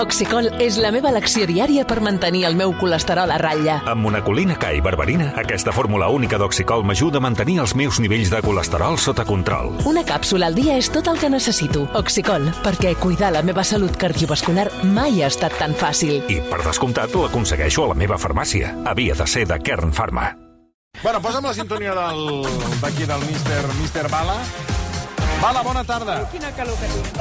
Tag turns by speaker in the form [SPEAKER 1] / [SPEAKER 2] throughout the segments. [SPEAKER 1] Oxicol és la meva elecció diària per mantenir el meu colesterol a ratlla.
[SPEAKER 2] Amb monacolina K i barberina, aquesta fórmula única d'Oxicol m'ajuda a mantenir els meus nivells de colesterol sota control.
[SPEAKER 1] Una càpsula al dia és tot el que necessito. Oxicol, perquè cuidar la meva salut cardiovascular mai ha estat tan fàcil.
[SPEAKER 2] I, per descomptat, l'aconsegueixo a la meva farmàcia. Havia de ser de Kern Pharma.
[SPEAKER 3] Bueno, posa'm la sintonia del- d'aquí del, Mister, Mister Bala. Bala, bona tarda.
[SPEAKER 4] Quina calor que tinc.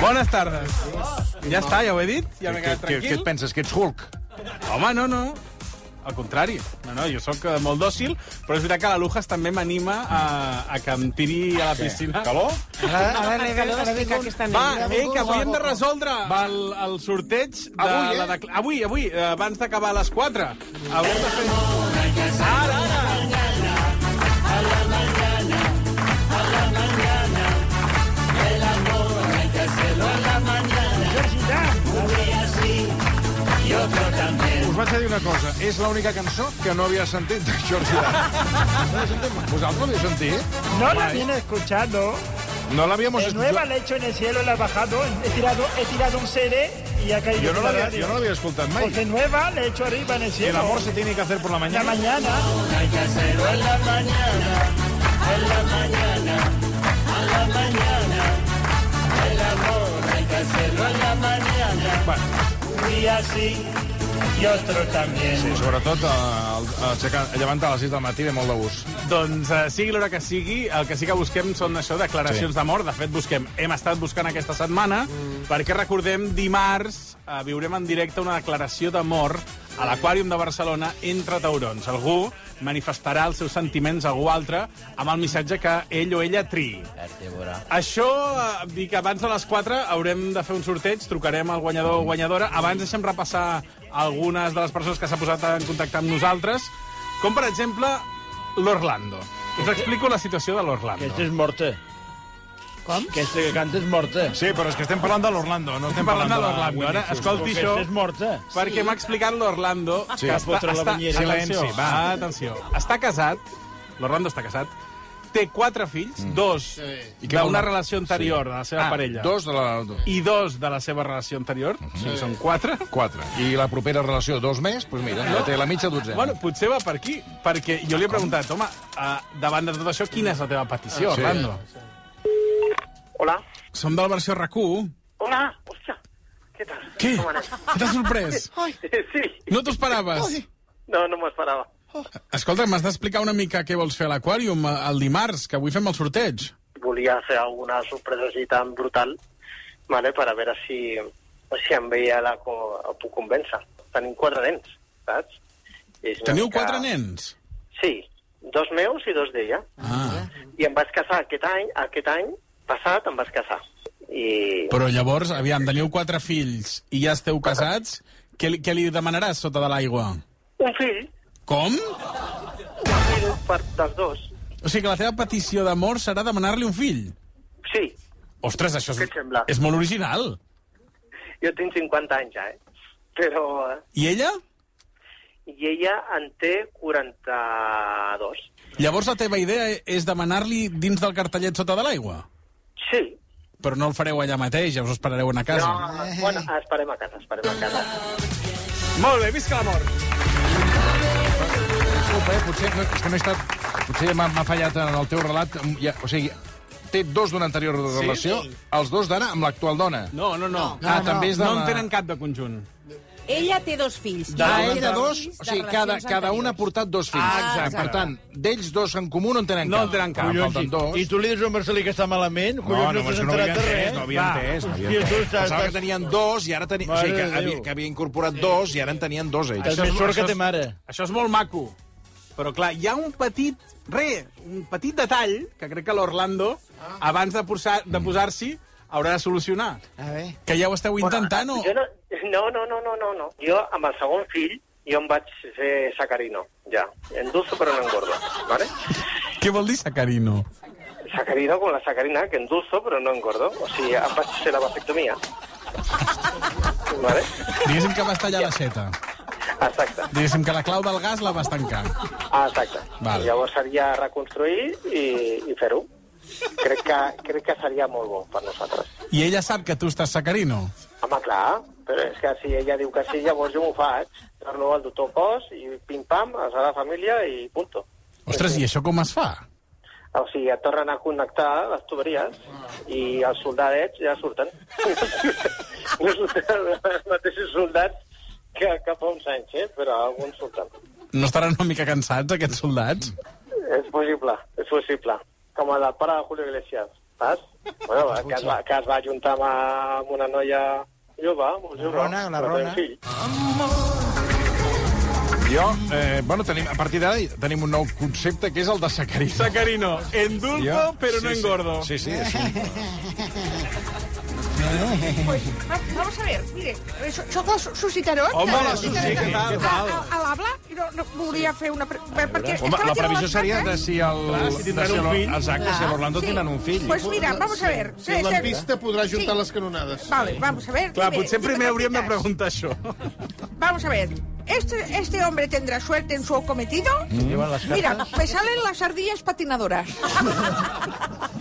[SPEAKER 5] Bones tardes. Ja està, ja ho he dit, ja m'he quedat
[SPEAKER 3] Què, què et
[SPEAKER 5] tranquil.
[SPEAKER 3] penses, que ets Hulk?
[SPEAKER 5] Home, no, no. Al contrari. No, no, jo sóc eh, molt dòcil, però és veritat que la Lujas també m'anima a, a que em tiri a la piscina.
[SPEAKER 3] Calor?
[SPEAKER 4] Ara n'he d'explicar aquesta
[SPEAKER 5] Va,
[SPEAKER 4] nena.
[SPEAKER 5] eh, que avui hem de resoldre el, el sorteig de
[SPEAKER 3] Avui, eh?
[SPEAKER 5] la de... Avui, avui, eh, abans d'acabar a les 4. Avui hem de fer... Ara, ara!
[SPEAKER 3] Us vaig a dir una cosa. És l'única cançó que no havia sentit de George Dan. No l'he sentit mai. Vosaltres l'havia sentit?
[SPEAKER 6] No la viene escuchando.
[SPEAKER 3] No l'havíamos
[SPEAKER 6] De nueva la he hecho en el cielo, la he bajado. He tirado, he tirado un CD y ha caído
[SPEAKER 3] Jo no
[SPEAKER 6] en la
[SPEAKER 3] l'havia
[SPEAKER 6] radio.
[SPEAKER 3] jo no l'havia escoltat mai.
[SPEAKER 6] Pues de nueva la he hecho arriba en el
[SPEAKER 3] El
[SPEAKER 6] cielo.
[SPEAKER 3] amor se tiene que hacer por la
[SPEAKER 6] En la
[SPEAKER 3] mañana.
[SPEAKER 6] mañana.
[SPEAKER 3] Bueno,
[SPEAKER 6] Un día sí y otro también.
[SPEAKER 3] sí, sobretot eh, aixecar- llevant-te a les 6 del matí ve molt de gust.
[SPEAKER 5] Doncs eh, sigui l'hora que sigui, el que sí que busquem són això, declaracions
[SPEAKER 3] Sí.
[SPEAKER 5] sí. d'amor. De fet, busquem, hem estat buscant aquesta setmana, mm. perquè recordem, dimarts eh, viurem en directe una declaració d'amor a l'Aquàrium de Barcelona entre taurons. Algú manifestarà els seus sentiments a algú altre amb el missatge que ell o ella triï. Això, eh, dic, abans de les 4 haurem de fer un sorteig, trucarem al guanyador o guanyadora. Abans deixem repassar algunes de les persones que s'ha posat en contacte amb nosaltres, com, per exemple, l'Orlando. Us explico la situació de l'Orlando.
[SPEAKER 7] es morte. ¿Cómo? Que este que canta es morte.
[SPEAKER 3] Sí, però és que estem parlant de l'Orlando, no estem
[SPEAKER 5] Estem parlant de l'Orlando. Ara, escolti això,
[SPEAKER 7] morte.
[SPEAKER 5] perquè m'ha explicat l'Orlando
[SPEAKER 3] Sí.
[SPEAKER 5] que
[SPEAKER 7] Fotre
[SPEAKER 5] està...
[SPEAKER 7] la
[SPEAKER 5] està
[SPEAKER 7] banyera.
[SPEAKER 5] silenci,
[SPEAKER 3] Atenció.
[SPEAKER 5] va, atenció. Està casat, l'Orlando està casat, té quatre fills, dos
[SPEAKER 3] Mm. I què vol
[SPEAKER 5] d'una
[SPEAKER 3] dir?
[SPEAKER 5] relació anterior de la seva
[SPEAKER 3] Ah,
[SPEAKER 5] parella.
[SPEAKER 3] Dos Mm. de la...
[SPEAKER 5] i dos de la seva relació anterior, o sigui, són quatre.
[SPEAKER 3] Quatre. I la propera relació, dos més, doncs mira, ja té la mitja dotzena.
[SPEAKER 5] Bueno, potser va per aquí, perquè jo li he preguntat, home, eh, davant de tot això, quina és la teva petició,
[SPEAKER 3] Ah, Sí.
[SPEAKER 5] Orlando?
[SPEAKER 8] Hola.
[SPEAKER 5] Som de la versió RAC1.
[SPEAKER 8] Hola. Hòstia. Què tal?
[SPEAKER 5] Què?
[SPEAKER 8] Com anem?
[SPEAKER 5] Què t'ha sorprès?
[SPEAKER 8] Sí.
[SPEAKER 5] No t'ho esperaves?
[SPEAKER 8] No, no m'ho esperava.
[SPEAKER 5] Escolta, m'has d'explicar una mica què vols fer a l'Aquàrium eh, el dimarts, que avui fem el sorteig.
[SPEAKER 8] Volia fer alguna sorpresa així tan brutal, vale, per a veure si, si em veia la, co- el puc convèncer. Tenim quatre nens, saps? És una
[SPEAKER 5] Teniu
[SPEAKER 8] mica-
[SPEAKER 5] quatre nens?
[SPEAKER 8] Sí, dos meus i dos d'ella.
[SPEAKER 5] Ah,
[SPEAKER 8] I em vaig casar aquest any, aquest any passat em vaig casar. I
[SPEAKER 5] però llavors, aviam, teniu quatre fills i ja esteu casats, què, li- què li demanaràs sota de l'aigua?
[SPEAKER 8] un fill,
[SPEAKER 5] Com?
[SPEAKER 8] un fill per, dels dos.
[SPEAKER 5] O sigui que la teva petició d'amor serà demanar-li un fill?
[SPEAKER 8] Sí,
[SPEAKER 5] Ostres, això
[SPEAKER 8] Què et sembla?
[SPEAKER 5] és, és molt original.
[SPEAKER 8] jo tinc 50 anys ja, eh? Però... eh,
[SPEAKER 5] I ella?
[SPEAKER 8] I ella en té 42.
[SPEAKER 5] Llavors la teva idea és demanar-li dins del cartellet sota de l'aigua?
[SPEAKER 8] Sí.
[SPEAKER 5] Però no el fareu allà mateix, ja us esperareu a casa.
[SPEAKER 8] No, bueno, esperem a casa, esperem a casa.
[SPEAKER 5] Molt bé, visca l'amor.
[SPEAKER 3] Disculpa, eh? potser, és que no he estat... Potser m'ha m'ha fallat en el teu relat. Mm, Ja, o sigui, té dos d'una anterior relació, sí? els dos d'ara amb l'actual dona.
[SPEAKER 5] No, no, no.
[SPEAKER 3] No, Ah, no. també és de
[SPEAKER 5] no
[SPEAKER 3] la-
[SPEAKER 5] en tenen cap de conjunt.
[SPEAKER 4] Ella té dos fills.
[SPEAKER 3] Ah,
[SPEAKER 4] Ella té
[SPEAKER 3] ell de dos,
[SPEAKER 4] fills
[SPEAKER 3] o
[SPEAKER 4] de
[SPEAKER 3] sigui, cada,
[SPEAKER 4] relacions
[SPEAKER 3] cada un ha
[SPEAKER 4] anteriors.
[SPEAKER 3] portat dos fills.
[SPEAKER 5] Ah, exacte.
[SPEAKER 3] Per tant, d'ells dos en comú no en tenen
[SPEAKER 5] No
[SPEAKER 3] cap.
[SPEAKER 5] en tenen cap.
[SPEAKER 3] Collons, falten dos.
[SPEAKER 7] I tu li dius al Marcelí que està malament? Collons, no, no,
[SPEAKER 3] és
[SPEAKER 7] no,
[SPEAKER 3] que
[SPEAKER 7] no,
[SPEAKER 3] havia
[SPEAKER 7] de res.
[SPEAKER 3] entès, no havia
[SPEAKER 7] Va.
[SPEAKER 3] entès. No havia
[SPEAKER 7] Hòstia, tu
[SPEAKER 3] entès.
[SPEAKER 7] estàs-
[SPEAKER 3] Pensava que tenien dos i ara tenien... O sigui, que
[SPEAKER 7] Mare de
[SPEAKER 3] havia,
[SPEAKER 7] Déu.
[SPEAKER 3] que havia incorporat dos i ara en tenien dos ells.
[SPEAKER 7] Això és més sort que té mare.
[SPEAKER 5] Això és molt maco. Però, clar, hi ha un petit... Re, un petit detall que crec que l'Orlando,
[SPEAKER 3] Ah.
[SPEAKER 5] abans de posar- de posar-s'hi, haurà de solucionar.
[SPEAKER 9] A ver.
[SPEAKER 5] Que ja ho esteu intentant, o...?
[SPEAKER 8] Jo no, no, no, no, no, no, no. Jo, amb el segon fill, jo em vaig fer sacarino, ja. Endulzo però no engordo, ¿vale?
[SPEAKER 5] Què vol dir sacarino?
[SPEAKER 8] Sacarino com la sacarina, que endulzo però no engordo. O sigui, em vaig fer la vasectomia. ¿Vale?
[SPEAKER 5] Diguéssim que vas tallar l'aixeta.
[SPEAKER 10] Exacte.
[SPEAKER 5] Diguéssim que la clau del gas la vas tancar.
[SPEAKER 10] Ah, exacte.
[SPEAKER 5] Val.
[SPEAKER 10] Val. Llavors seria reconstruir i, i fer-ho. Crec que, crec que seria molt bo per nosaltres.
[SPEAKER 5] I ella sap que tu estàs sacarino.
[SPEAKER 10] Home, clar, però és que si ella diu que sí, llavors jo m'ho faig. Torno al doctor Cos i pim-pam, a la Sagrada Família i punto.
[SPEAKER 5] Ostres, i això com es fa?
[SPEAKER 10] O sigui, et tornen a connectar les tuberies i els soldadets ja surten. no surten els mateixos soldats que, que fa uns anys, eh? però alguns surten.
[SPEAKER 5] No estaran una mica cansats, aquests soldats?
[SPEAKER 10] És possible, és possible. Com a la pare de Julio Iglesias, saps? Bueno, que es va, que es va ajuntar amb, amb una noia jove, molt jove.
[SPEAKER 7] Rona, la
[SPEAKER 10] però té un
[SPEAKER 7] Rona.
[SPEAKER 10] fill.
[SPEAKER 3] Jo, eh, bueno, tenim, a partir d'ara tenim un nou concepte, que és el de sacarina.
[SPEAKER 5] Sacarino, endulco,
[SPEAKER 3] Jo-
[SPEAKER 5] però no
[SPEAKER 3] sí, sí.
[SPEAKER 5] engordo.
[SPEAKER 3] Sí, sí, és un...
[SPEAKER 11] Vamos a ver, mire, eh, so- sóc el Su- Susi Tarot.
[SPEAKER 5] Home, la
[SPEAKER 11] Susi
[SPEAKER 5] Susi,
[SPEAKER 11] Tarot,
[SPEAKER 5] què tal,
[SPEAKER 11] a-
[SPEAKER 5] tal?
[SPEAKER 11] a- A l'Abla, i no, no volia fer una... Pre... per- Perquè és
[SPEAKER 3] Home,
[SPEAKER 11] que
[SPEAKER 3] la
[SPEAKER 11] tinc a
[SPEAKER 3] previsió
[SPEAKER 11] les
[SPEAKER 3] seria de
[SPEAKER 11] cartes.
[SPEAKER 3] eh?" si el...
[SPEAKER 5] Clar, si tindran
[SPEAKER 3] de
[SPEAKER 5] un
[SPEAKER 3] el-
[SPEAKER 5] fill.
[SPEAKER 3] Exacte, si l'Orlando
[SPEAKER 11] Sí.
[SPEAKER 3] tenen un fill.
[SPEAKER 11] Pues mira, vamos a ver.
[SPEAKER 12] Si el lampista podrà juntar les canonades.
[SPEAKER 11] Vale, vamos a ver.
[SPEAKER 5] Clar,
[SPEAKER 11] dime,
[SPEAKER 5] potser
[SPEAKER 11] dime
[SPEAKER 5] primer hauríem de
[SPEAKER 11] cositas.
[SPEAKER 5] preguntar això.
[SPEAKER 11] Vamos a ver. Este, este hombre tendrá suerte en su cometido.
[SPEAKER 5] Mm.
[SPEAKER 11] Mira, me salen las ardillas patinadoras.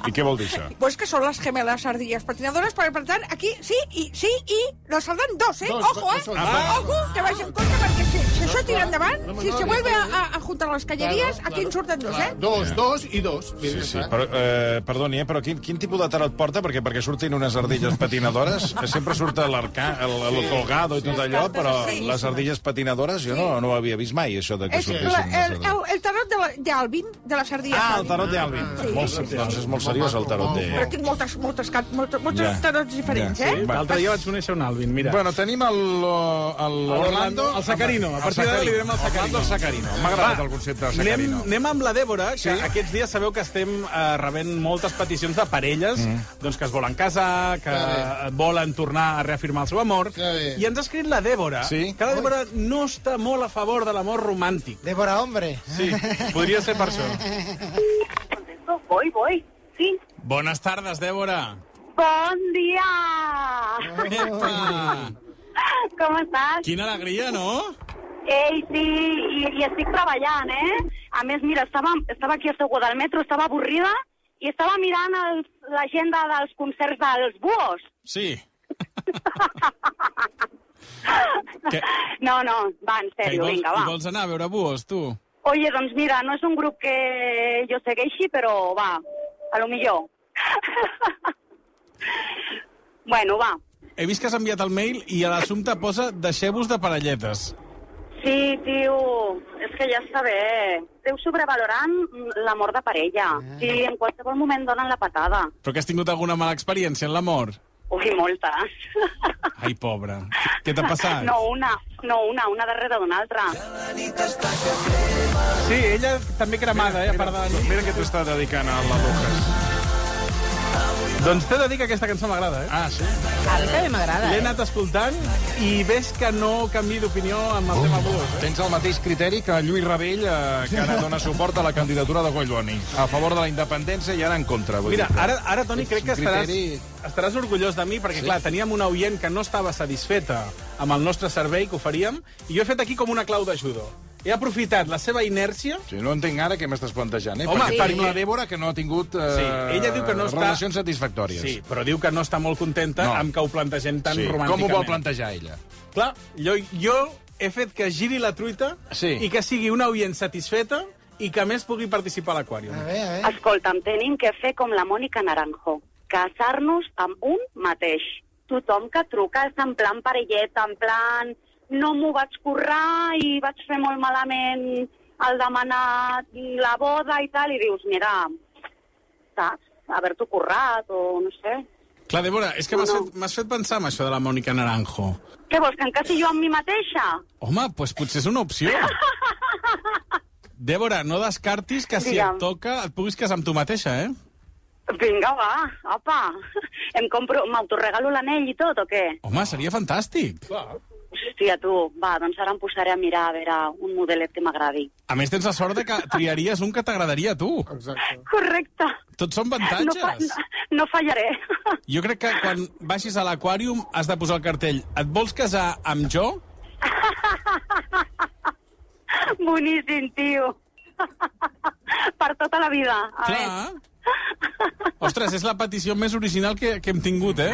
[SPEAKER 3] I què vol dir això?
[SPEAKER 11] Pues que son las gemelas ardillas patinadoras para plantar aquí, sí y sí y nos saldrán dos, ¿eh?
[SPEAKER 12] Dos,
[SPEAKER 11] Ojo,
[SPEAKER 12] dos
[SPEAKER 11] ¿eh?
[SPEAKER 12] soldats. Ah,
[SPEAKER 11] Ojo, que vais en contra porque si, si això tira endavant,
[SPEAKER 12] No, no,
[SPEAKER 11] si
[SPEAKER 12] no,
[SPEAKER 11] se
[SPEAKER 12] no,
[SPEAKER 11] vuelve
[SPEAKER 12] no, no.
[SPEAKER 11] a, a juntar les
[SPEAKER 12] Claro,
[SPEAKER 11] calleries, aquí en
[SPEAKER 12] claro,
[SPEAKER 11] surten dos,
[SPEAKER 12] clar.
[SPEAKER 11] ¿eh?
[SPEAKER 12] Dos, dos i dos.
[SPEAKER 3] Sí, sí, però, eh, perdoni, eh, però quin, quin tipus de tarot porta? Perquè perquè surtin unes ardilles patinadores, que sempre surt l'arcà, el, el colgado i tot allò, però
[SPEAKER 11] Sí.
[SPEAKER 3] les ardilles patinadores jo no, no ho havia vist mai, això de que
[SPEAKER 11] És
[SPEAKER 3] sortissin.
[SPEAKER 11] la, el,
[SPEAKER 3] unes
[SPEAKER 11] el,
[SPEAKER 3] ardilles.
[SPEAKER 11] el tarot de la- d'Alvin, de, de les ardilles.
[SPEAKER 3] Ah, el
[SPEAKER 11] Alvin.
[SPEAKER 3] tarot d'Alvin.
[SPEAKER 11] Sí.
[SPEAKER 3] Molt, ser- doncs és molt seriós el tarot
[SPEAKER 11] Però
[SPEAKER 3] de...
[SPEAKER 11] tinc moltes, moltes, cat- moltes, moltes
[SPEAKER 3] Ja.
[SPEAKER 11] tarots diferents,
[SPEAKER 3] Ja.
[SPEAKER 11] eh?
[SPEAKER 3] Sí.
[SPEAKER 5] L'altre dia vaig conèixer un Alvin, mira.
[SPEAKER 3] Bueno, tenim el, el Orlando...
[SPEAKER 5] el Sacarino. A partir d'ara li direm el Sacarino.
[SPEAKER 3] Orlando Sacarino. M'ha agradat
[SPEAKER 5] Va,
[SPEAKER 3] el concepte de
[SPEAKER 5] Anem,
[SPEAKER 3] Sacarino.
[SPEAKER 5] anem amb la Dèbora, que
[SPEAKER 3] Sí?
[SPEAKER 5] sí? aquests dies sabeu que estem eh, rebent moltes peticions de parelles mm. doncs que es volen casar, que
[SPEAKER 12] Està
[SPEAKER 5] volen tornar a reafirmar el seu amor.
[SPEAKER 12] Està bé.
[SPEAKER 5] I ens ha escrit la Dèbora,
[SPEAKER 3] Sí?
[SPEAKER 5] que la Dèbora no està molt a favor de l'amor romàntic.
[SPEAKER 7] Débora, hombre.
[SPEAKER 5] Sí, podria ser per això.
[SPEAKER 13] Voy, voy. Sí.
[SPEAKER 5] Bones tardes, Dèbora.
[SPEAKER 13] Bon dia!
[SPEAKER 5] Epa!
[SPEAKER 13] Com estàs?
[SPEAKER 5] Quina alegria, no?
[SPEAKER 13] Ei, sí, i, i estic treballant, eh? A més, mira, estava, estava aquí a Segur del metro, estava avorrida i estava mirant els- l'agenda dels concerts dels Buos.
[SPEAKER 5] Sí. Que-
[SPEAKER 13] No, no, va, en
[SPEAKER 5] Que hi
[SPEAKER 13] sèrio,
[SPEAKER 5] vols,
[SPEAKER 13] vinga,
[SPEAKER 5] hi
[SPEAKER 13] va.
[SPEAKER 5] vols anar a veure buos, tu?
[SPEAKER 13] Oye, doncs mira, no és un grup que jo segueixi, però va, a lo millor. bueno, va.
[SPEAKER 5] He vist que has enviat el mail i a l'assumpte posa deixeu-vos de parelletes.
[SPEAKER 13] Sí, tio, és que ja està bé. Esteu sobrevalorant l'amor de parella.
[SPEAKER 5] Ah.
[SPEAKER 13] Sí, en qualsevol moment donen la patada.
[SPEAKER 5] Però que has tingut alguna mala experiència en l'amor?
[SPEAKER 13] Ui, moltes.
[SPEAKER 5] Ai, pobra. Què t'ha passat?
[SPEAKER 13] No una, no una, una darrere d'una altra.
[SPEAKER 5] Sí, ella també cremada, eh, a part de...
[SPEAKER 3] Mira que t'està dedicant a la Lucas.
[SPEAKER 5] Doncs t'he de dir que aquesta cançó m'agrada, eh?
[SPEAKER 3] Ah, sí?
[SPEAKER 13] A mi també m'agrada. eh?
[SPEAKER 5] L'he anat escoltant i ves que no canvi d'opinió amb el tema Buos, eh?
[SPEAKER 3] Tens el mateix criteri que Lluís Rebell, eh, que ara dona suport a la candidatura de Collboni. A favor de la independència i ara en contra. Vull
[SPEAKER 5] Mira,
[SPEAKER 3] dir.
[SPEAKER 5] ara, ara Toni, crec que
[SPEAKER 3] un
[SPEAKER 5] estaràs,
[SPEAKER 3] criteri-
[SPEAKER 5] estaràs orgullós de mi, perquè, sí. clar, teníem una oient que no estava satisfeta amb el nostre servei que oferíem, i jo he fet aquí com una clau de judo. He aprofitat la seva inèrcia
[SPEAKER 3] Si no entenc ara què m'estàs plantejant, eh?
[SPEAKER 5] Home,
[SPEAKER 3] perquè tenim
[SPEAKER 5] perquè-
[SPEAKER 3] la Dèbora que no ha tingut eh,
[SPEAKER 5] Sí, ella diu que no està-
[SPEAKER 3] relacions satisfactòries.
[SPEAKER 5] Sí, però diu que no està molt contenta
[SPEAKER 3] No.
[SPEAKER 5] no. amb que ho plantegem tan
[SPEAKER 3] Sí,
[SPEAKER 5] romànticament.
[SPEAKER 3] Com ho vol plantejar ella?
[SPEAKER 5] Clar, jo, jo he fet que giri la truita
[SPEAKER 3] Sí.
[SPEAKER 5] i que sigui una oient satisfeta i que a més pugui participar a l'aquàrium.
[SPEAKER 7] A ver, a ver.
[SPEAKER 13] Escolta'm, tenim que fer com la Mònica Naranjo, casar-nos amb un mateix. Tothom que truca és en plan parelleta, en plan no m'ho vaig currar i vaig fer molt malament el demanar la boda i tal, i dius, mira, saps, haver-t'ho currat o no sé.
[SPEAKER 5] Clar, Débora, és que m'has
[SPEAKER 13] No, no.
[SPEAKER 5] fet, m'has fet pensar en això de la Mònica Naranjo.
[SPEAKER 13] Què vols, que encasi jo amb mi mateixa?
[SPEAKER 5] Home, doncs potser és una opció. Débora, no descartis que si
[SPEAKER 13] Digue'm.
[SPEAKER 5] et toca et puguis casar amb tu mateixa, eh?
[SPEAKER 13] Vinga, va, apa. Em compro, m'autoregalo l'anell i tot, o què?
[SPEAKER 5] Home, seria fantàstic.
[SPEAKER 13] Hòstia, tu, va, doncs ara em posaré a mirar a veure un modelet que m'agradi.
[SPEAKER 5] A més, tens la sort de que triaries un que t'agradaria a tu.
[SPEAKER 12] Exacte.
[SPEAKER 13] Correcte.
[SPEAKER 5] Tots són
[SPEAKER 13] No, fa,
[SPEAKER 5] avantatges.
[SPEAKER 13] no, no fallaré.
[SPEAKER 5] Jo crec que quan baixis a l'aquàrium has de posar el cartell et vols casar amb jo?
[SPEAKER 13] boníssim, tio. per tota la vida. A
[SPEAKER 5] Clar. Ostres, és la petició més original que, que hem tingut, eh?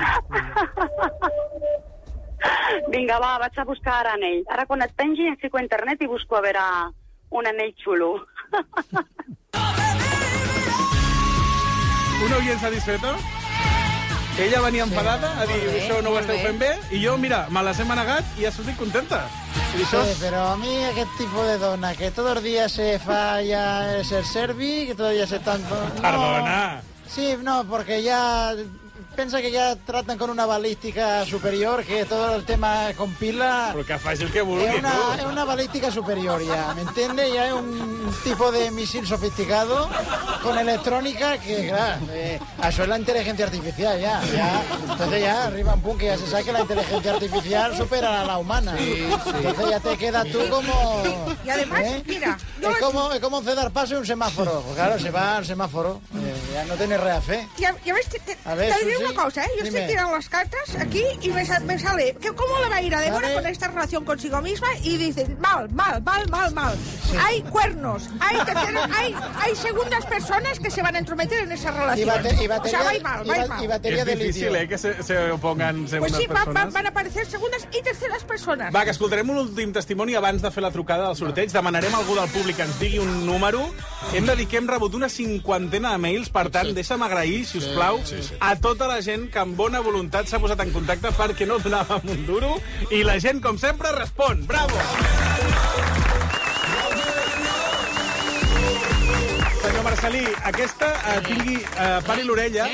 [SPEAKER 13] Vinga, va, vaig a buscar ara anell. Ara quan et pengi em fico a internet i busco a veure un anell xulo.
[SPEAKER 5] Un oient satisfeto? Ella venia enfadada a dir,
[SPEAKER 14] bé,
[SPEAKER 5] això no ho
[SPEAKER 14] molt
[SPEAKER 5] esteu
[SPEAKER 14] bé.
[SPEAKER 5] fent bé, i jo, mira, me les he manegat i ha sortit contenta. I
[SPEAKER 14] Sí,
[SPEAKER 5] això és...
[SPEAKER 14] pero a mí aquel tipo de dona que todos los días se falla el ser servi, que todos los días se tanto... No.
[SPEAKER 5] Perdona.
[SPEAKER 14] Sí, no, porque ya... Piensa que ya tratan con una balística superior, que todo el tema compila...
[SPEAKER 5] Però que faci el que vulgui,
[SPEAKER 14] Es una, es una balística superior ya, ¿me entiendes? Ya es un tipo de misil sofisticado con electrónica que, claro, eh, eso es la inteligencia artificial ya. ya. Entonces ya, arriba un punk, que ya se sabe que la inteligencia artificial supera a la humana. Entonces ya te queda tú como...
[SPEAKER 11] Y además,
[SPEAKER 14] ¿eh?
[SPEAKER 11] mira,
[SPEAKER 14] Es como, es como ceder paso en un semáforo. Pues claro, se va al semáforo. eh, ya no tienes rea fe.
[SPEAKER 11] Ya, ya ves, te, te,
[SPEAKER 14] A ver,
[SPEAKER 11] te diré
[SPEAKER 14] Susi,
[SPEAKER 11] una cosa, ¿eh? Yo
[SPEAKER 14] dime.
[SPEAKER 11] estoy tirando las cartas aquí y me, sa- me sale... que ¿Cómo le va a ir a Débora
[SPEAKER 14] Vale.
[SPEAKER 11] con esta relación consigo misma? Y dicen, mal, mal, mal, mal, mal. Hay cuernos, hay terceros, hay, hay segundas personas que se van a entrometer en esa relación.
[SPEAKER 14] Y bate- y
[SPEAKER 11] o sea, va y
[SPEAKER 14] batería-
[SPEAKER 11] mal,
[SPEAKER 14] y
[SPEAKER 11] va y
[SPEAKER 14] ba-
[SPEAKER 11] mal.
[SPEAKER 14] y batería
[SPEAKER 5] és
[SPEAKER 14] de
[SPEAKER 5] difícil,
[SPEAKER 14] litio.
[SPEAKER 5] eh, que se, se opongan
[SPEAKER 11] Pues
[SPEAKER 5] segundes
[SPEAKER 11] sí, va- va-
[SPEAKER 5] persones.
[SPEAKER 11] van a aparecer segundas y terceras personas.
[SPEAKER 5] Va, que escoltarem un últim testimoni abans de fer la trucada del sorteig. Demanarem a algú del públic que ens digui un número. Hem de dir que hem rebut una cinquantena de mails, per tant, deixa'm agrair, si us plau,
[SPEAKER 12] sí, sí.
[SPEAKER 5] a tota la gent que amb bona voluntat s'ha posat en contacte perquè no donàvem un duro i la gent, com sempre, respon. Bravo! Senyor Marcelí, aquesta eh, tingui... Eh, pari l'orella.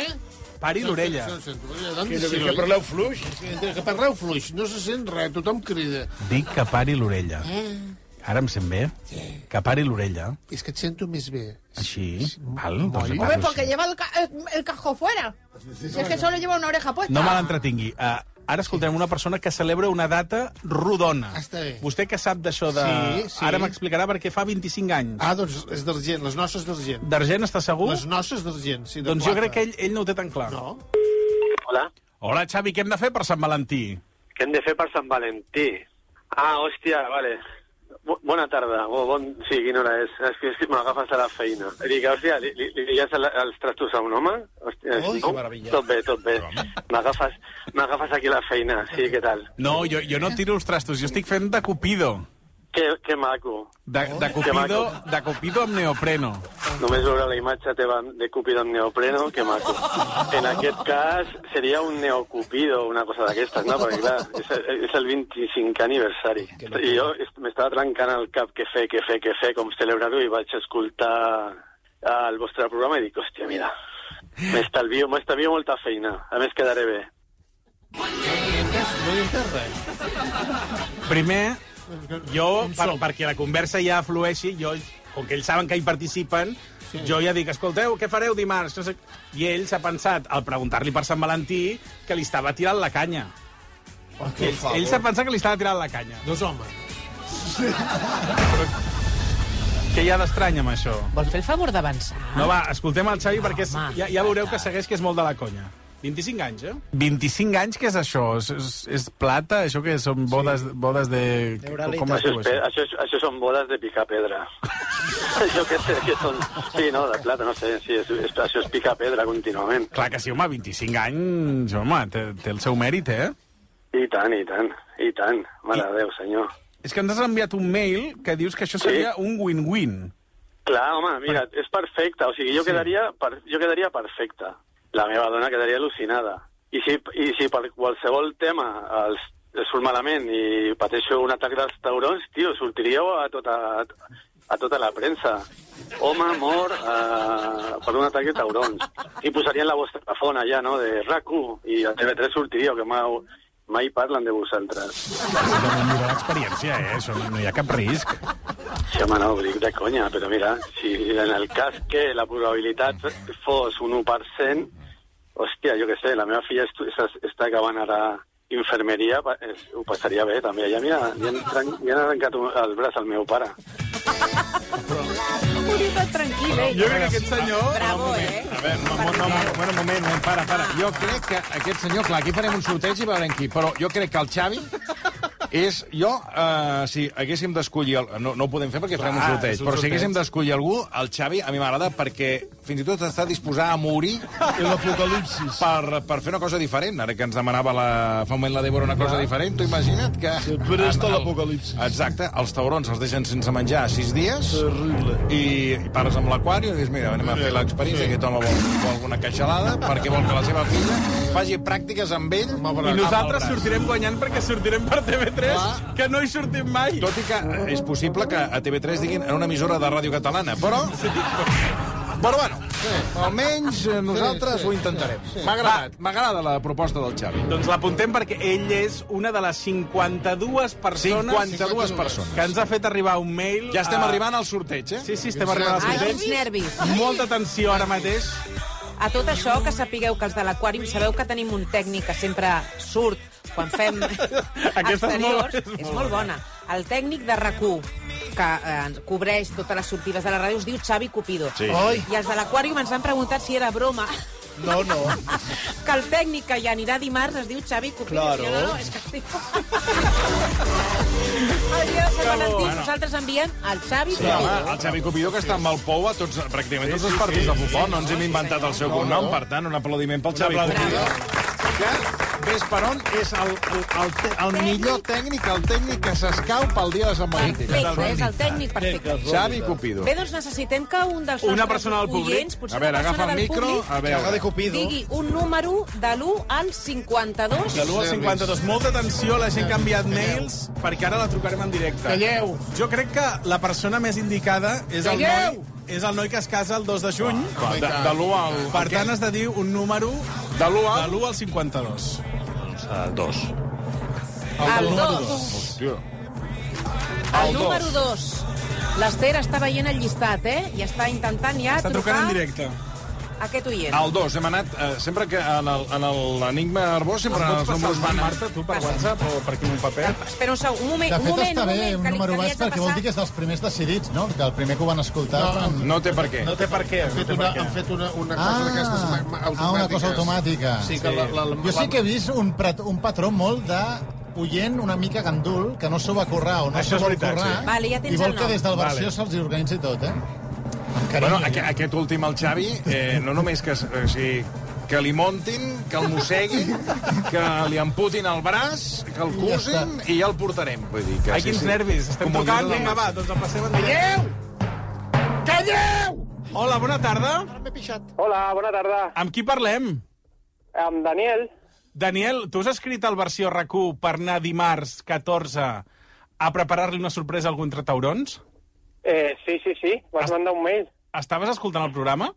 [SPEAKER 5] Pari l'orella.
[SPEAKER 12] No sento, no
[SPEAKER 5] Que- que
[SPEAKER 12] sento.
[SPEAKER 5] parleu
[SPEAKER 12] fluix. Que parleu fluix, no se sent res, tothom crida.
[SPEAKER 5] Dic que pari l'orella.
[SPEAKER 12] Eh?
[SPEAKER 5] Ara em sent bé? Que pari l'orella.
[SPEAKER 12] És que et sento més bé.
[SPEAKER 5] Així, val? Doncs
[SPEAKER 11] Hombre,
[SPEAKER 5] acabo
[SPEAKER 11] porque lleva el, ca- el, el cajón fuera. Si es que solo lleva una oreja puesta.
[SPEAKER 5] No me l'entretingui. Uh, ara escoltarem una persona que celebra una data rodona.
[SPEAKER 12] Està bé.
[SPEAKER 5] Vostè que sap d'això de...
[SPEAKER 12] Ah, Sí, sí.
[SPEAKER 5] Ara m'explicarà perquè fa 25 anys.
[SPEAKER 12] Ah, doncs és d'argent, les noces d'argent.
[SPEAKER 5] D'argent està segur?
[SPEAKER 12] Les noces d'argent, sí, de
[SPEAKER 5] Doncs jo
[SPEAKER 12] plata.
[SPEAKER 5] crec que ell, ell no ho té tan clar.
[SPEAKER 12] No.
[SPEAKER 10] Hola,
[SPEAKER 5] Hola, Xavi, què hem de fer per Sant Valentí?
[SPEAKER 10] què hem de fer per Sant Valentí? Ah, hòstia, vale. Bu- Bona tarda, o bon... Sí, quina hora és? És que, és que m'agafes a la feina. Dic, hòstia, li, li, li llences el- els trastos a un home? Hòstia,
[SPEAKER 12] Ui,
[SPEAKER 10] no?
[SPEAKER 12] que meravella.
[SPEAKER 10] Tot bé, tot bé. M'agafes m'agafes aquí a la feina, sí, què tal?
[SPEAKER 5] No, jo, jo no tiro els trastos, jo estic fent de Cupido.
[SPEAKER 10] Que, que maco.
[SPEAKER 5] De, de,
[SPEAKER 12] Oh.
[SPEAKER 5] Cupido, de Cupido amb neopreno.
[SPEAKER 10] Només veure la imatge teva de Cupido amb neopreno, que maco. En aquest cas, seria un neocupido, una cosa d'aquestes, no? Perquè, clar, és, és el 25 aniversari. I jo est- m'estava trencant el cap què fer, què fer, què fer, com celebrar-ho, i vaig escoltar eh, el vostre programa i dic, hòstia, mira, m'estalvio, m'estalvio molta feina. A més, quedaré bé.
[SPEAKER 12] No hi entès res.
[SPEAKER 5] Primer, jo, per, perquè la conversa ja flueixi, jo, com que ells saben que hi participen, sí. jo ja dic, escolteu, què fareu dimarts? No sé... I ell s'ha pensat, al preguntar-li per Sant Valentí, que li estava tirant la canya. Ell, ell s'ha pensat que li estava tirant la canya.
[SPEAKER 12] Dos homes.
[SPEAKER 5] Què hi ha d'estrany amb això?
[SPEAKER 14] Vol fer el favor d'avançar?
[SPEAKER 5] No, va, escoltem el Xavi, perquè és,
[SPEAKER 14] home.
[SPEAKER 5] ja, ja veureu que segueix que és molt de la conya. 25 anys, eh? 25 anys, què és això? És, és, és plata? Això què són bodes, sí. bodes de...
[SPEAKER 14] D'Euralites.
[SPEAKER 5] Com es
[SPEAKER 10] Això,
[SPEAKER 5] diu això?
[SPEAKER 10] és, pe- això, és, això són bodes de picar pedra. això que, sé, que són... Sí, no, de plata, no sé, sí, és, és, això és picar pedra contínuament.
[SPEAKER 5] Clar que sí, home, 25 anys, home, té, té el seu mèrit, eh?
[SPEAKER 10] I tant, i tant, i tant. Mare de Déu, senyor.
[SPEAKER 5] És que ens has enviat un mail que dius que això seria un win-win.
[SPEAKER 10] Clar, home, mira, és perfecte. O sigui, jo, quedaria, per, jo quedaria perfecta. La meva dona quedaria al·lucinada. I si, I si per qualsevol tema els, els surt malament i pateixo un atac dels taurons, tio, sortiríeu a tota, a tota la premsa. Home mor eh, per un atac de taurons. I posarien la vostra fona ja, no?, de rac I a TV3 sortiríeu, que mai, mai parlen de vosaltres.
[SPEAKER 5] Una bona experiència, eh? Això no hi ha cap risc.
[SPEAKER 10] Sí, home, no, ho dic de conya, però mira, si en el cas que la probabilitat fos un 1%, hòstia, jo què sé, la meva filla estu- està, està acabant ara infermeria, pa- es- ho passaria bé, també. Ja, mira, li han, tran- li han arrencat un- el braç al meu pare.
[SPEAKER 11] Un poquito tranquilo, ¿eh?
[SPEAKER 5] Jo crec que aquest senyor...
[SPEAKER 11] Bravo, ¿eh?
[SPEAKER 5] A veure, no, no, no, bueno, un moment, no, para, para.
[SPEAKER 3] Jo crec que aquest senyor, clar, aquí farem un sorteig i veurem qui, però jo crec que el Xavi És, jo, eh, si haguéssim d'escollir... el- No, no ho podem fer perquè
[SPEAKER 5] Clar,
[SPEAKER 3] farem un sorteig,
[SPEAKER 5] és un
[SPEAKER 3] però si
[SPEAKER 5] sorteig.
[SPEAKER 3] haguéssim d'escollir algú, el Xavi a mi m'agrada perquè fins i tot està disposat a morir l'apocalipsis per, per fer una cosa diferent. Ara que ens demanava la, fa un moment la Débora una cosa diferent, t'ho imagina't que... Se
[SPEAKER 12] presta
[SPEAKER 3] l'apocalipsis. Exacte, els taurons els deixen sense menjar sis dies. Terrible. I, i pares amb l'aquari i dius, mira, anem a fer l'experiència, aquest home vol, vol una queixalada perquè vol que la seva filla faci pràctiques amb ell.
[SPEAKER 5] I nosaltres sortirem guanyant perquè sortirem per TV3, que no hi sortim mai.
[SPEAKER 3] Ah. Tot i que és possible que a TV3 diguin en una emissora de ràdio catalana, però... Però bueno, almenys eh, nosaltres
[SPEAKER 5] sí,
[SPEAKER 3] ho intentarem.
[SPEAKER 5] sí, sí.
[SPEAKER 3] M'ha agradat, m'agrada la proposta del Xavi.
[SPEAKER 5] Doncs l'apuntem perquè ell és una de les 52 persones...
[SPEAKER 3] 52 persones.
[SPEAKER 5] Que ens ha fet arribar un mail...
[SPEAKER 3] Ja estem arribant al sorteig, eh?
[SPEAKER 5] Sí, sí, estem arribant al
[SPEAKER 4] Ai,
[SPEAKER 5] sorteig.
[SPEAKER 4] quins nervis.
[SPEAKER 5] Molta atenció ara mateix.
[SPEAKER 4] A tot això, que sapigueu que els de l'Aquàrium sabeu que tenim un tècnic que sempre surt quan fem
[SPEAKER 5] Aquesta és molt-
[SPEAKER 4] exteriors.
[SPEAKER 5] és molt
[SPEAKER 4] És molt bona. El tècnic de rac que eh, ens cobreix totes les sortides de la ràdio, es diu Xavi Cupido.
[SPEAKER 8] Sí. Ai.
[SPEAKER 4] I els de l'Aquàrium ens han preguntat si era broma
[SPEAKER 8] No, no.
[SPEAKER 4] que el tècnic que hi anirà dimarts es diu Xavi Cupido.
[SPEAKER 8] Claro.
[SPEAKER 4] Jo, no, no, és que estic... el dia de Sant Valentí,
[SPEAKER 3] Bueno.
[SPEAKER 4] nosaltres enviem el Xavi
[SPEAKER 3] Sí,
[SPEAKER 4] Cupido.
[SPEAKER 3] home, el Xavi Cupido, que està amb el pou a tots, pràcticament tots els partits de futbol. No ens hem inventat el seu cognom, per tant, un aplaudiment pel Xavi Cupido. Que, ves per on, és el, el, el, te- el millor tècnic, el tècnic que s'escau pel dia de Sant Valentí.
[SPEAKER 4] Perfecte, és el tècnic perfecte.
[SPEAKER 3] Xavi Cupido.
[SPEAKER 4] Bé, doncs necessitem que un dels
[SPEAKER 3] Una
[SPEAKER 4] nostres
[SPEAKER 3] persona del públic.
[SPEAKER 4] oients, potser
[SPEAKER 3] A veure,
[SPEAKER 4] una persona
[SPEAKER 3] agafa el
[SPEAKER 4] del
[SPEAKER 3] micro,
[SPEAKER 4] públic,
[SPEAKER 3] a veure. Que haga de Cupido.
[SPEAKER 4] Digui un número de l'1 al 52.
[SPEAKER 5] De l'1 al 52. Molta atenció, la gent que ha enviat mails, perquè ara la trucarem en directe.
[SPEAKER 4] Calleu.
[SPEAKER 5] Jo crec que la persona més indicada és el
[SPEAKER 4] Calleu.
[SPEAKER 5] noi, és el noi que es casa el 2 de juny.
[SPEAKER 3] Ah, de- de l'u al-
[SPEAKER 5] Per tant, has de dir un número de l'1 al, 52.
[SPEAKER 15] El 2.
[SPEAKER 4] El
[SPEAKER 5] número
[SPEAKER 4] dos.
[SPEAKER 5] dos.
[SPEAKER 3] Hòstia.
[SPEAKER 4] El número 2. L'Ester està veient el llistat, eh? I està intentant ja
[SPEAKER 3] Està
[SPEAKER 4] trucar
[SPEAKER 3] trucant en directe.
[SPEAKER 4] aquest oient.
[SPEAKER 3] Al 2 hem anat, eh, sempre que en el- en el- l'enigma Arbós sempre els números van... a-
[SPEAKER 5] Marta, tu per WhatsApp o per quin paper?
[SPEAKER 4] Espera un segon, un moment,
[SPEAKER 16] De fet,
[SPEAKER 4] un moment,
[SPEAKER 16] està
[SPEAKER 4] un
[SPEAKER 16] bé
[SPEAKER 4] moment,
[SPEAKER 16] un
[SPEAKER 4] que li,
[SPEAKER 16] número
[SPEAKER 4] que li
[SPEAKER 16] baix
[SPEAKER 4] haig de
[SPEAKER 16] perquè vol
[SPEAKER 4] passar.
[SPEAKER 16] dir que és dels primers decidits, no? Que el primer que ho van escoltar...
[SPEAKER 12] No,
[SPEAKER 3] no té per què.
[SPEAKER 12] No té per què. Han fet una, han fet una, una cosa
[SPEAKER 16] Ah,
[SPEAKER 12] d'aquestes ma- ma- automàtiques.
[SPEAKER 16] Ah, una cosa automàtica.
[SPEAKER 12] Sí, que la, la, la,
[SPEAKER 16] jo sí que he vist un, prat, un patró molt de oient una mica gandul, que no s'ho va currar o no
[SPEAKER 3] Això
[SPEAKER 16] s'ho
[SPEAKER 3] és
[SPEAKER 16] vol
[SPEAKER 3] veritat,
[SPEAKER 16] currar,
[SPEAKER 3] sí. Vale, ja tens
[SPEAKER 16] i vol
[SPEAKER 3] el
[SPEAKER 16] que
[SPEAKER 3] nom.
[SPEAKER 16] des del versió
[SPEAKER 3] Vale.
[SPEAKER 16] se'ls hi organitzi tot, eh?
[SPEAKER 3] Bueno, aquest, aquest últim, el Xavi, eh, no només que, es- o sigui, que li montin, que el mosseguin, que li amputin el braç, que el
[SPEAKER 5] I ja
[SPEAKER 3] cusin
[SPEAKER 5] està.
[SPEAKER 3] i ja el portarem. Vull dir que,
[SPEAKER 5] Ai, quins nervis. Estem
[SPEAKER 3] Comodino
[SPEAKER 5] tocant.
[SPEAKER 3] de
[SPEAKER 5] Vinga, va,
[SPEAKER 3] Barça.
[SPEAKER 5] doncs el passem en directe. Calleu! Calleu! Hola, bona tarda.
[SPEAKER 10] Hola, bona tarda.
[SPEAKER 5] Amb qui parlem?
[SPEAKER 10] Amb Daniel.
[SPEAKER 5] Daniel, tu has escrit el versió rac per anar dimarts 14 a preparar-li una sorpresa a algun trataurons?
[SPEAKER 10] Eh, sí, sí, sí, vas mandar un mail.
[SPEAKER 5] Estaves escoltant el programa?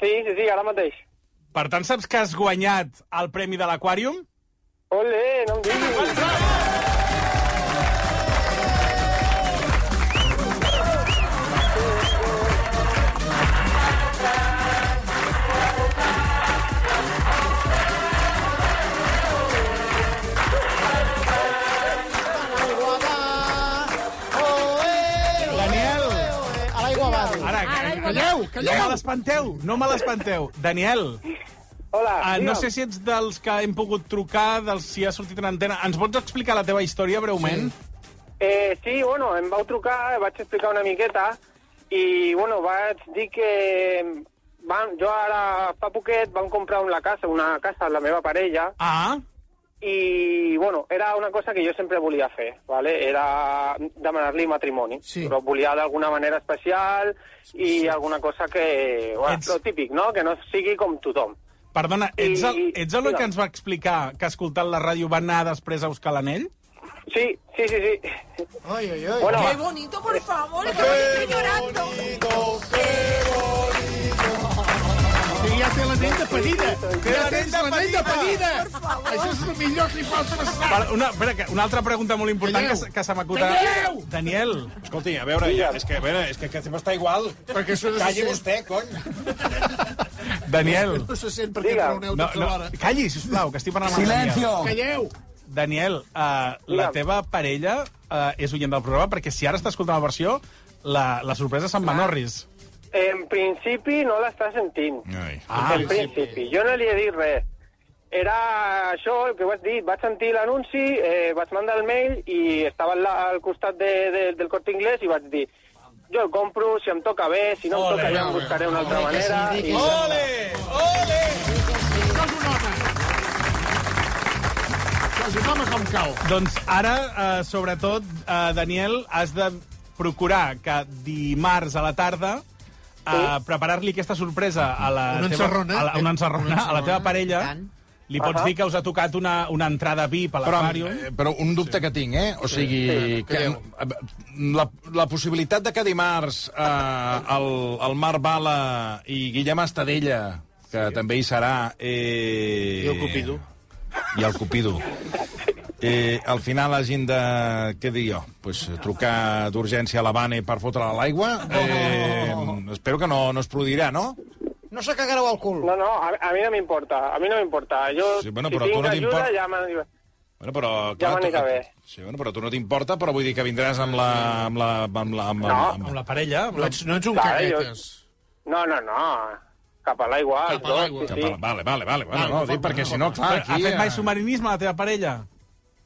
[SPEAKER 10] Sí, sí, sí, ara mateix.
[SPEAKER 5] Per tant, saps que has guanyat el Premi de l'Aquàrium?
[SPEAKER 10] Ole, no em diguis.
[SPEAKER 5] Daniel!
[SPEAKER 16] A l'aigua va.
[SPEAKER 5] Ara,
[SPEAKER 16] Calleu,
[SPEAKER 5] No me
[SPEAKER 16] calleu!
[SPEAKER 5] l'espanteu, no me l'espanteu. Daniel,
[SPEAKER 10] Hola,
[SPEAKER 5] ah, no
[SPEAKER 10] digue'm.
[SPEAKER 5] sé si ets dels que hem pogut trucar, dels si ha sortit en antena. Ens pots explicar la teva història breument? Sí.
[SPEAKER 10] Eh, sí, bueno, em vau trucar, vaig explicar una miqueta i, bueno, vaig dir que... Van, jo ara, fa poquet, vam comprar una casa, una casa amb la meva parella.
[SPEAKER 5] Ah.
[SPEAKER 10] I, bueno, era una cosa que jo sempre volia fer, ¿vale? era demanar-li matrimoni. Sí. Però volia d'alguna manera especial i alguna cosa que... Bueno, Ets... Lo típic, no? Que no sigui com tothom.
[SPEAKER 5] Perdona, ets el,
[SPEAKER 10] I-
[SPEAKER 5] ets el noi
[SPEAKER 10] digue'm.
[SPEAKER 5] que ens va explicar que escoltant la ràdio va anar després a buscar l'anell?
[SPEAKER 10] Sí, sí, sí, sí.
[SPEAKER 16] Ai, ai,
[SPEAKER 10] ai. Bueno,
[SPEAKER 11] Qué bonito, por favor, que me estoy llorando.
[SPEAKER 12] Sí, ja té l'anell de pedida.
[SPEAKER 5] Té
[SPEAKER 12] Ja
[SPEAKER 5] l'anell
[SPEAKER 12] tens
[SPEAKER 5] de
[SPEAKER 12] l'anell de
[SPEAKER 5] pedida.
[SPEAKER 12] pedida. Això és el millor que li pot passar.
[SPEAKER 5] Per- Una, espera, que- una altra pregunta molt important que, se- que se m'acuta.
[SPEAKER 12] Calleu!
[SPEAKER 5] Daniel!
[SPEAKER 3] Escolti, a veure, ja, és que, a veure, és que aquest tema està igual.
[SPEAKER 12] Perquè això no se
[SPEAKER 3] Calli
[SPEAKER 12] sent.
[SPEAKER 3] vostè, cony.
[SPEAKER 5] Daniel!
[SPEAKER 12] No se sent perquè
[SPEAKER 5] Digue'm.
[SPEAKER 12] trauneu
[SPEAKER 5] No,
[SPEAKER 12] tota
[SPEAKER 5] no,
[SPEAKER 12] l'hora.
[SPEAKER 5] calli, sisplau, que estic parlant amb el Daniel.
[SPEAKER 12] Calleu!
[SPEAKER 5] Daniel, uh, la teva parella uh, és oient del programa, perquè si ara està escoltant la versió, la, la sorpresa se'n va a Norris.
[SPEAKER 10] En principi no l'està sentint.
[SPEAKER 3] Ai.
[SPEAKER 10] Ah, en principi. Jo no li he dit res.
[SPEAKER 12] era això el que vaig dir. Vaig sentir l'anunci, eh, vaig mandar el mail i estava al, la- al costat de, de, del Corte Inglés i vaig dir jo el compro, si em toca bé, si no em toca ja em buscaré una altra manera. i...
[SPEAKER 17] Ole!
[SPEAKER 16] Sos un home. Sos un home com cal.
[SPEAKER 5] Doncs ara, eh, sobretot, eh, Daniel, has de procurar que dimarts a la tarda eh, preparar-li aquesta sorpresa a la
[SPEAKER 16] Una
[SPEAKER 5] teva...
[SPEAKER 16] encerrona.
[SPEAKER 5] A la, una encerrona,
[SPEAKER 16] Una
[SPEAKER 5] a la teva parella. Li pots
[SPEAKER 16] Ahà.
[SPEAKER 5] dir que us ha tocat una, una entrada VIP a
[SPEAKER 3] Però,
[SPEAKER 5] l'aquàrium.
[SPEAKER 3] eh, però un dubte sí. que tinc, eh? O sigui, sí. que, la, la possibilitat de que dimarts eh, el, el Marc Bala i Guillem Estadella, que sí. també hi serà... Eh,
[SPEAKER 16] I el Cupido.
[SPEAKER 3] I el Cupido. Eh, al final hagin de... Què dir jo? Pues, trucar d'urgència a l'Havane per fotre-la a l'aigua? Eh, Espero que no, no es produirà, no?
[SPEAKER 12] No se cagareu al cul. No, no, a, a mi no m'importa, a mi no m'importa. Jo,
[SPEAKER 3] Sí, bueno,
[SPEAKER 12] si
[SPEAKER 3] però a tu
[SPEAKER 12] tinc
[SPEAKER 3] no
[SPEAKER 12] ajuda,
[SPEAKER 3] t'importa.
[SPEAKER 12] ja me...
[SPEAKER 3] Bueno, però,
[SPEAKER 12] Ja m'anirà
[SPEAKER 3] tu-
[SPEAKER 12] bé.
[SPEAKER 3] Sí, bueno, però tu no t'importa, però vull dir que vindràs amb la... Amb la, amb la, amb,
[SPEAKER 12] No.
[SPEAKER 3] amb,
[SPEAKER 5] amb la parella.
[SPEAKER 3] No ets, no
[SPEAKER 12] Clar, Jo... No, no, no. Cap a l'aigua. Cap a l'aigua. Sí,
[SPEAKER 3] Cap a la-
[SPEAKER 12] sí.
[SPEAKER 3] Vale, vale, vale. Bueno, no, dic, perquè si no, clar,
[SPEAKER 5] Però,
[SPEAKER 3] aquí...
[SPEAKER 5] Ha fet mai
[SPEAKER 3] eh,
[SPEAKER 5] submarinisme la teva parella?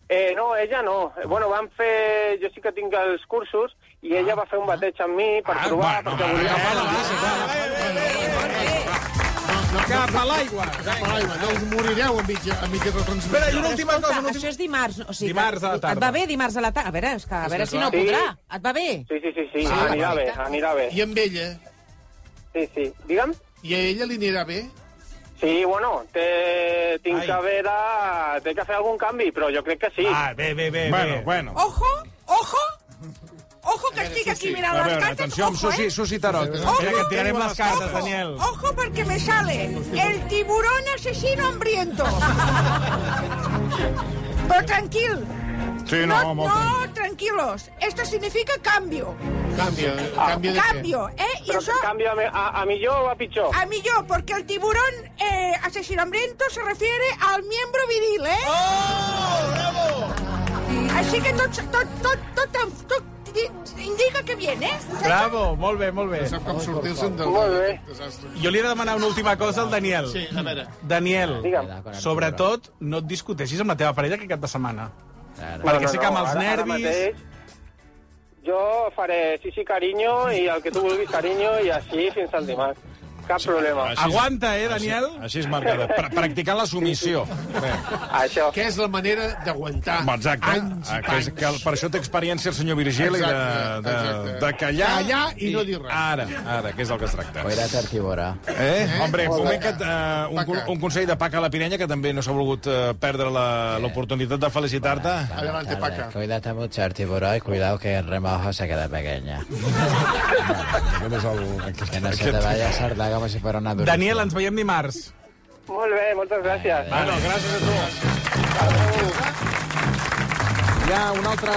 [SPEAKER 12] Eh, no, ella no. Eh, Bueno, vam fer... Jo sí que tinc els cursos i ella va fer un bateig amb mi per provar, perquè volia...
[SPEAKER 16] Cap a l'aigua. Cap a l'aigua. No us morireu a mitja, a mitja retransmissió.
[SPEAKER 4] Escolta, Això és dimarts. O sigui,
[SPEAKER 16] Dimarts a la tarda.
[SPEAKER 4] Et va bé dimarts a la tarda? A veure, és que, a
[SPEAKER 16] És
[SPEAKER 4] veure
[SPEAKER 16] que
[SPEAKER 4] si no
[SPEAKER 16] clar.
[SPEAKER 4] podrà.
[SPEAKER 16] Sí.
[SPEAKER 4] Et va bé?
[SPEAKER 12] Sí, sí, sí, sí. anirà bé, anirà bé.
[SPEAKER 16] I amb ella?
[SPEAKER 12] Sí, sí. Digue'm.
[SPEAKER 16] I a ella li anirà bé?
[SPEAKER 12] Sí, bueno, té... tinc que haver de... Té que fer algun canvi, però jo crec que sí.
[SPEAKER 5] Ah, bé, bé, bé.
[SPEAKER 3] Bueno, bueno.
[SPEAKER 11] Ojo, ojo, ojo que estic aquí mirant
[SPEAKER 3] A
[SPEAKER 11] les
[SPEAKER 3] veure,
[SPEAKER 11] cartes.
[SPEAKER 3] atenció, amb
[SPEAKER 11] ojo,
[SPEAKER 3] Susi,
[SPEAKER 11] eh?
[SPEAKER 3] Susi Tarot.
[SPEAKER 11] Ojo,
[SPEAKER 3] Espera, que et tirarem les cartes,
[SPEAKER 11] ojo,
[SPEAKER 3] Daniel.
[SPEAKER 11] Ojo porque me sale el tiburón asesino hambriento. Pero tranquil.
[SPEAKER 16] Sí, no,
[SPEAKER 11] no,
[SPEAKER 16] molt
[SPEAKER 11] no, tranquilos. Esto significa cambio.
[SPEAKER 12] Ah.
[SPEAKER 11] Ah.
[SPEAKER 16] Cambio. Cambio de
[SPEAKER 11] Cambio, ¿eh? Y
[SPEAKER 16] Pero
[SPEAKER 11] eso...
[SPEAKER 12] Canvi a, me- a, a millor o a pitjor?
[SPEAKER 11] A mí yo, porque el tiburón eh, asesino hambriento se refiere al miembro viril, ¿eh? ¡Oh, bravo! Así que tot, tot, tot, tot, tot, tot indica que viene, ¿eh?
[SPEAKER 5] Bravo, molt bé, molt bé. No sap
[SPEAKER 16] com sortir-se'n del
[SPEAKER 12] Molt bé.
[SPEAKER 16] desastre.
[SPEAKER 5] Jo li he de demanar una última cosa al Daniel.
[SPEAKER 16] Sí, a veure.
[SPEAKER 5] Daniel,
[SPEAKER 16] Digue'm.
[SPEAKER 5] sobretot, no et discuteixis amb la teva parella aquest cap de setmana.
[SPEAKER 12] No, no,
[SPEAKER 5] Perquè sé que amb
[SPEAKER 12] no,
[SPEAKER 5] els
[SPEAKER 12] ara- ara
[SPEAKER 5] nervis...
[SPEAKER 12] mateix Jo faré sí, sí, carinyo, i el que tu vulguis, carinyo, i així fins al dimarts. Cap problema.
[SPEAKER 3] Així és-
[SPEAKER 12] eh,
[SPEAKER 3] eh, Així, així és marcada. Pra practicant la submissió. Bé.
[SPEAKER 12] Això.
[SPEAKER 16] Que és la manera d'aguantar
[SPEAKER 3] Home, Exacte.
[SPEAKER 16] anys
[SPEAKER 3] Ah,
[SPEAKER 16] i
[SPEAKER 3] que és, que per això té experiència el senyor Virgili de,
[SPEAKER 16] Exacte,
[SPEAKER 3] de,
[SPEAKER 16] exacte.
[SPEAKER 3] de callar,
[SPEAKER 16] Callar i no dir res.
[SPEAKER 3] Ara, ara, que és del que es tracta.
[SPEAKER 14] Oira tertibora.
[SPEAKER 3] Eh? eh? Hombre,
[SPEAKER 14] Paca.
[SPEAKER 3] comunica't eh, un, con- un consell de Paca a la Pirenya, que també no s'ha volgut eh, perdre la- l'oportunitat de felicitar-te.
[SPEAKER 16] Adelante, Paca.
[SPEAKER 14] Cuídate mucho, Artiboro, y cuidado que el remojo se queda pequeña.
[SPEAKER 3] Aquest és el...
[SPEAKER 14] Que no se te vaya a sardar como si fuera una durita.
[SPEAKER 5] Daniel, ens veiem dimarts.
[SPEAKER 12] Molt bé, moltes gràcies.
[SPEAKER 5] Bueno, gràcies a tu.
[SPEAKER 3] Hi ha una altra,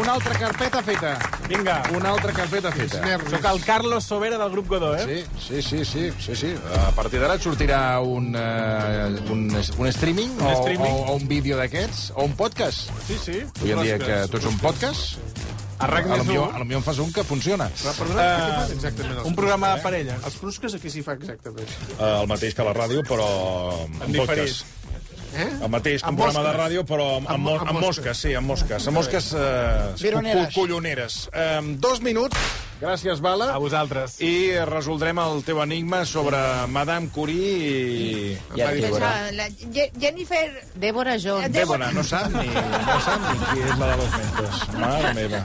[SPEAKER 3] una altra carpeta feta.
[SPEAKER 5] Vinga.
[SPEAKER 3] Una altra carpeta feta.
[SPEAKER 5] Soc el Carlos Sobera del grup Godó, eh?
[SPEAKER 3] Sí, sí, sí, sí, sí, sí. A partir d'ara et sortirà un, uh, un, un streaming,
[SPEAKER 5] Un streaming.
[SPEAKER 3] O, o, o un vídeo d'aquests, o un podcast.
[SPEAKER 5] Sí, sí.
[SPEAKER 3] Avui en dia que tots són podcast,
[SPEAKER 5] A RAC
[SPEAKER 3] a lo
[SPEAKER 5] més
[SPEAKER 3] millor,
[SPEAKER 5] un.
[SPEAKER 3] a lo millor en fas un que funciona. Eh,
[SPEAKER 16] Però, perdona, uh, què fan exactament els
[SPEAKER 5] un programa de parella.
[SPEAKER 16] Els prusques aquí s'hi fa exactament.
[SPEAKER 3] Uh, el mateix que la ràdio, però
[SPEAKER 5] En
[SPEAKER 3] en podcast.
[SPEAKER 16] Eh?
[SPEAKER 3] El mateix, un
[SPEAKER 16] Amb
[SPEAKER 3] programa de
[SPEAKER 16] mosques.
[SPEAKER 3] ràdio, però amb, amb, mo-
[SPEAKER 16] amb
[SPEAKER 3] amb mosques, sí, amb mosques. Amb mosques eh,
[SPEAKER 16] Vironeres.
[SPEAKER 3] cu- colloneres. Um, dos minuts. Gràcies, Bala.
[SPEAKER 5] A vosaltres.
[SPEAKER 3] I resoldrem el teu enigma sobre Madame Curie i...
[SPEAKER 14] I el tiburó.
[SPEAKER 11] Jennifer...
[SPEAKER 4] Débora Jones.
[SPEAKER 3] Débora, no sap ni, no sap ni qui és la de los mentos. Mare meva.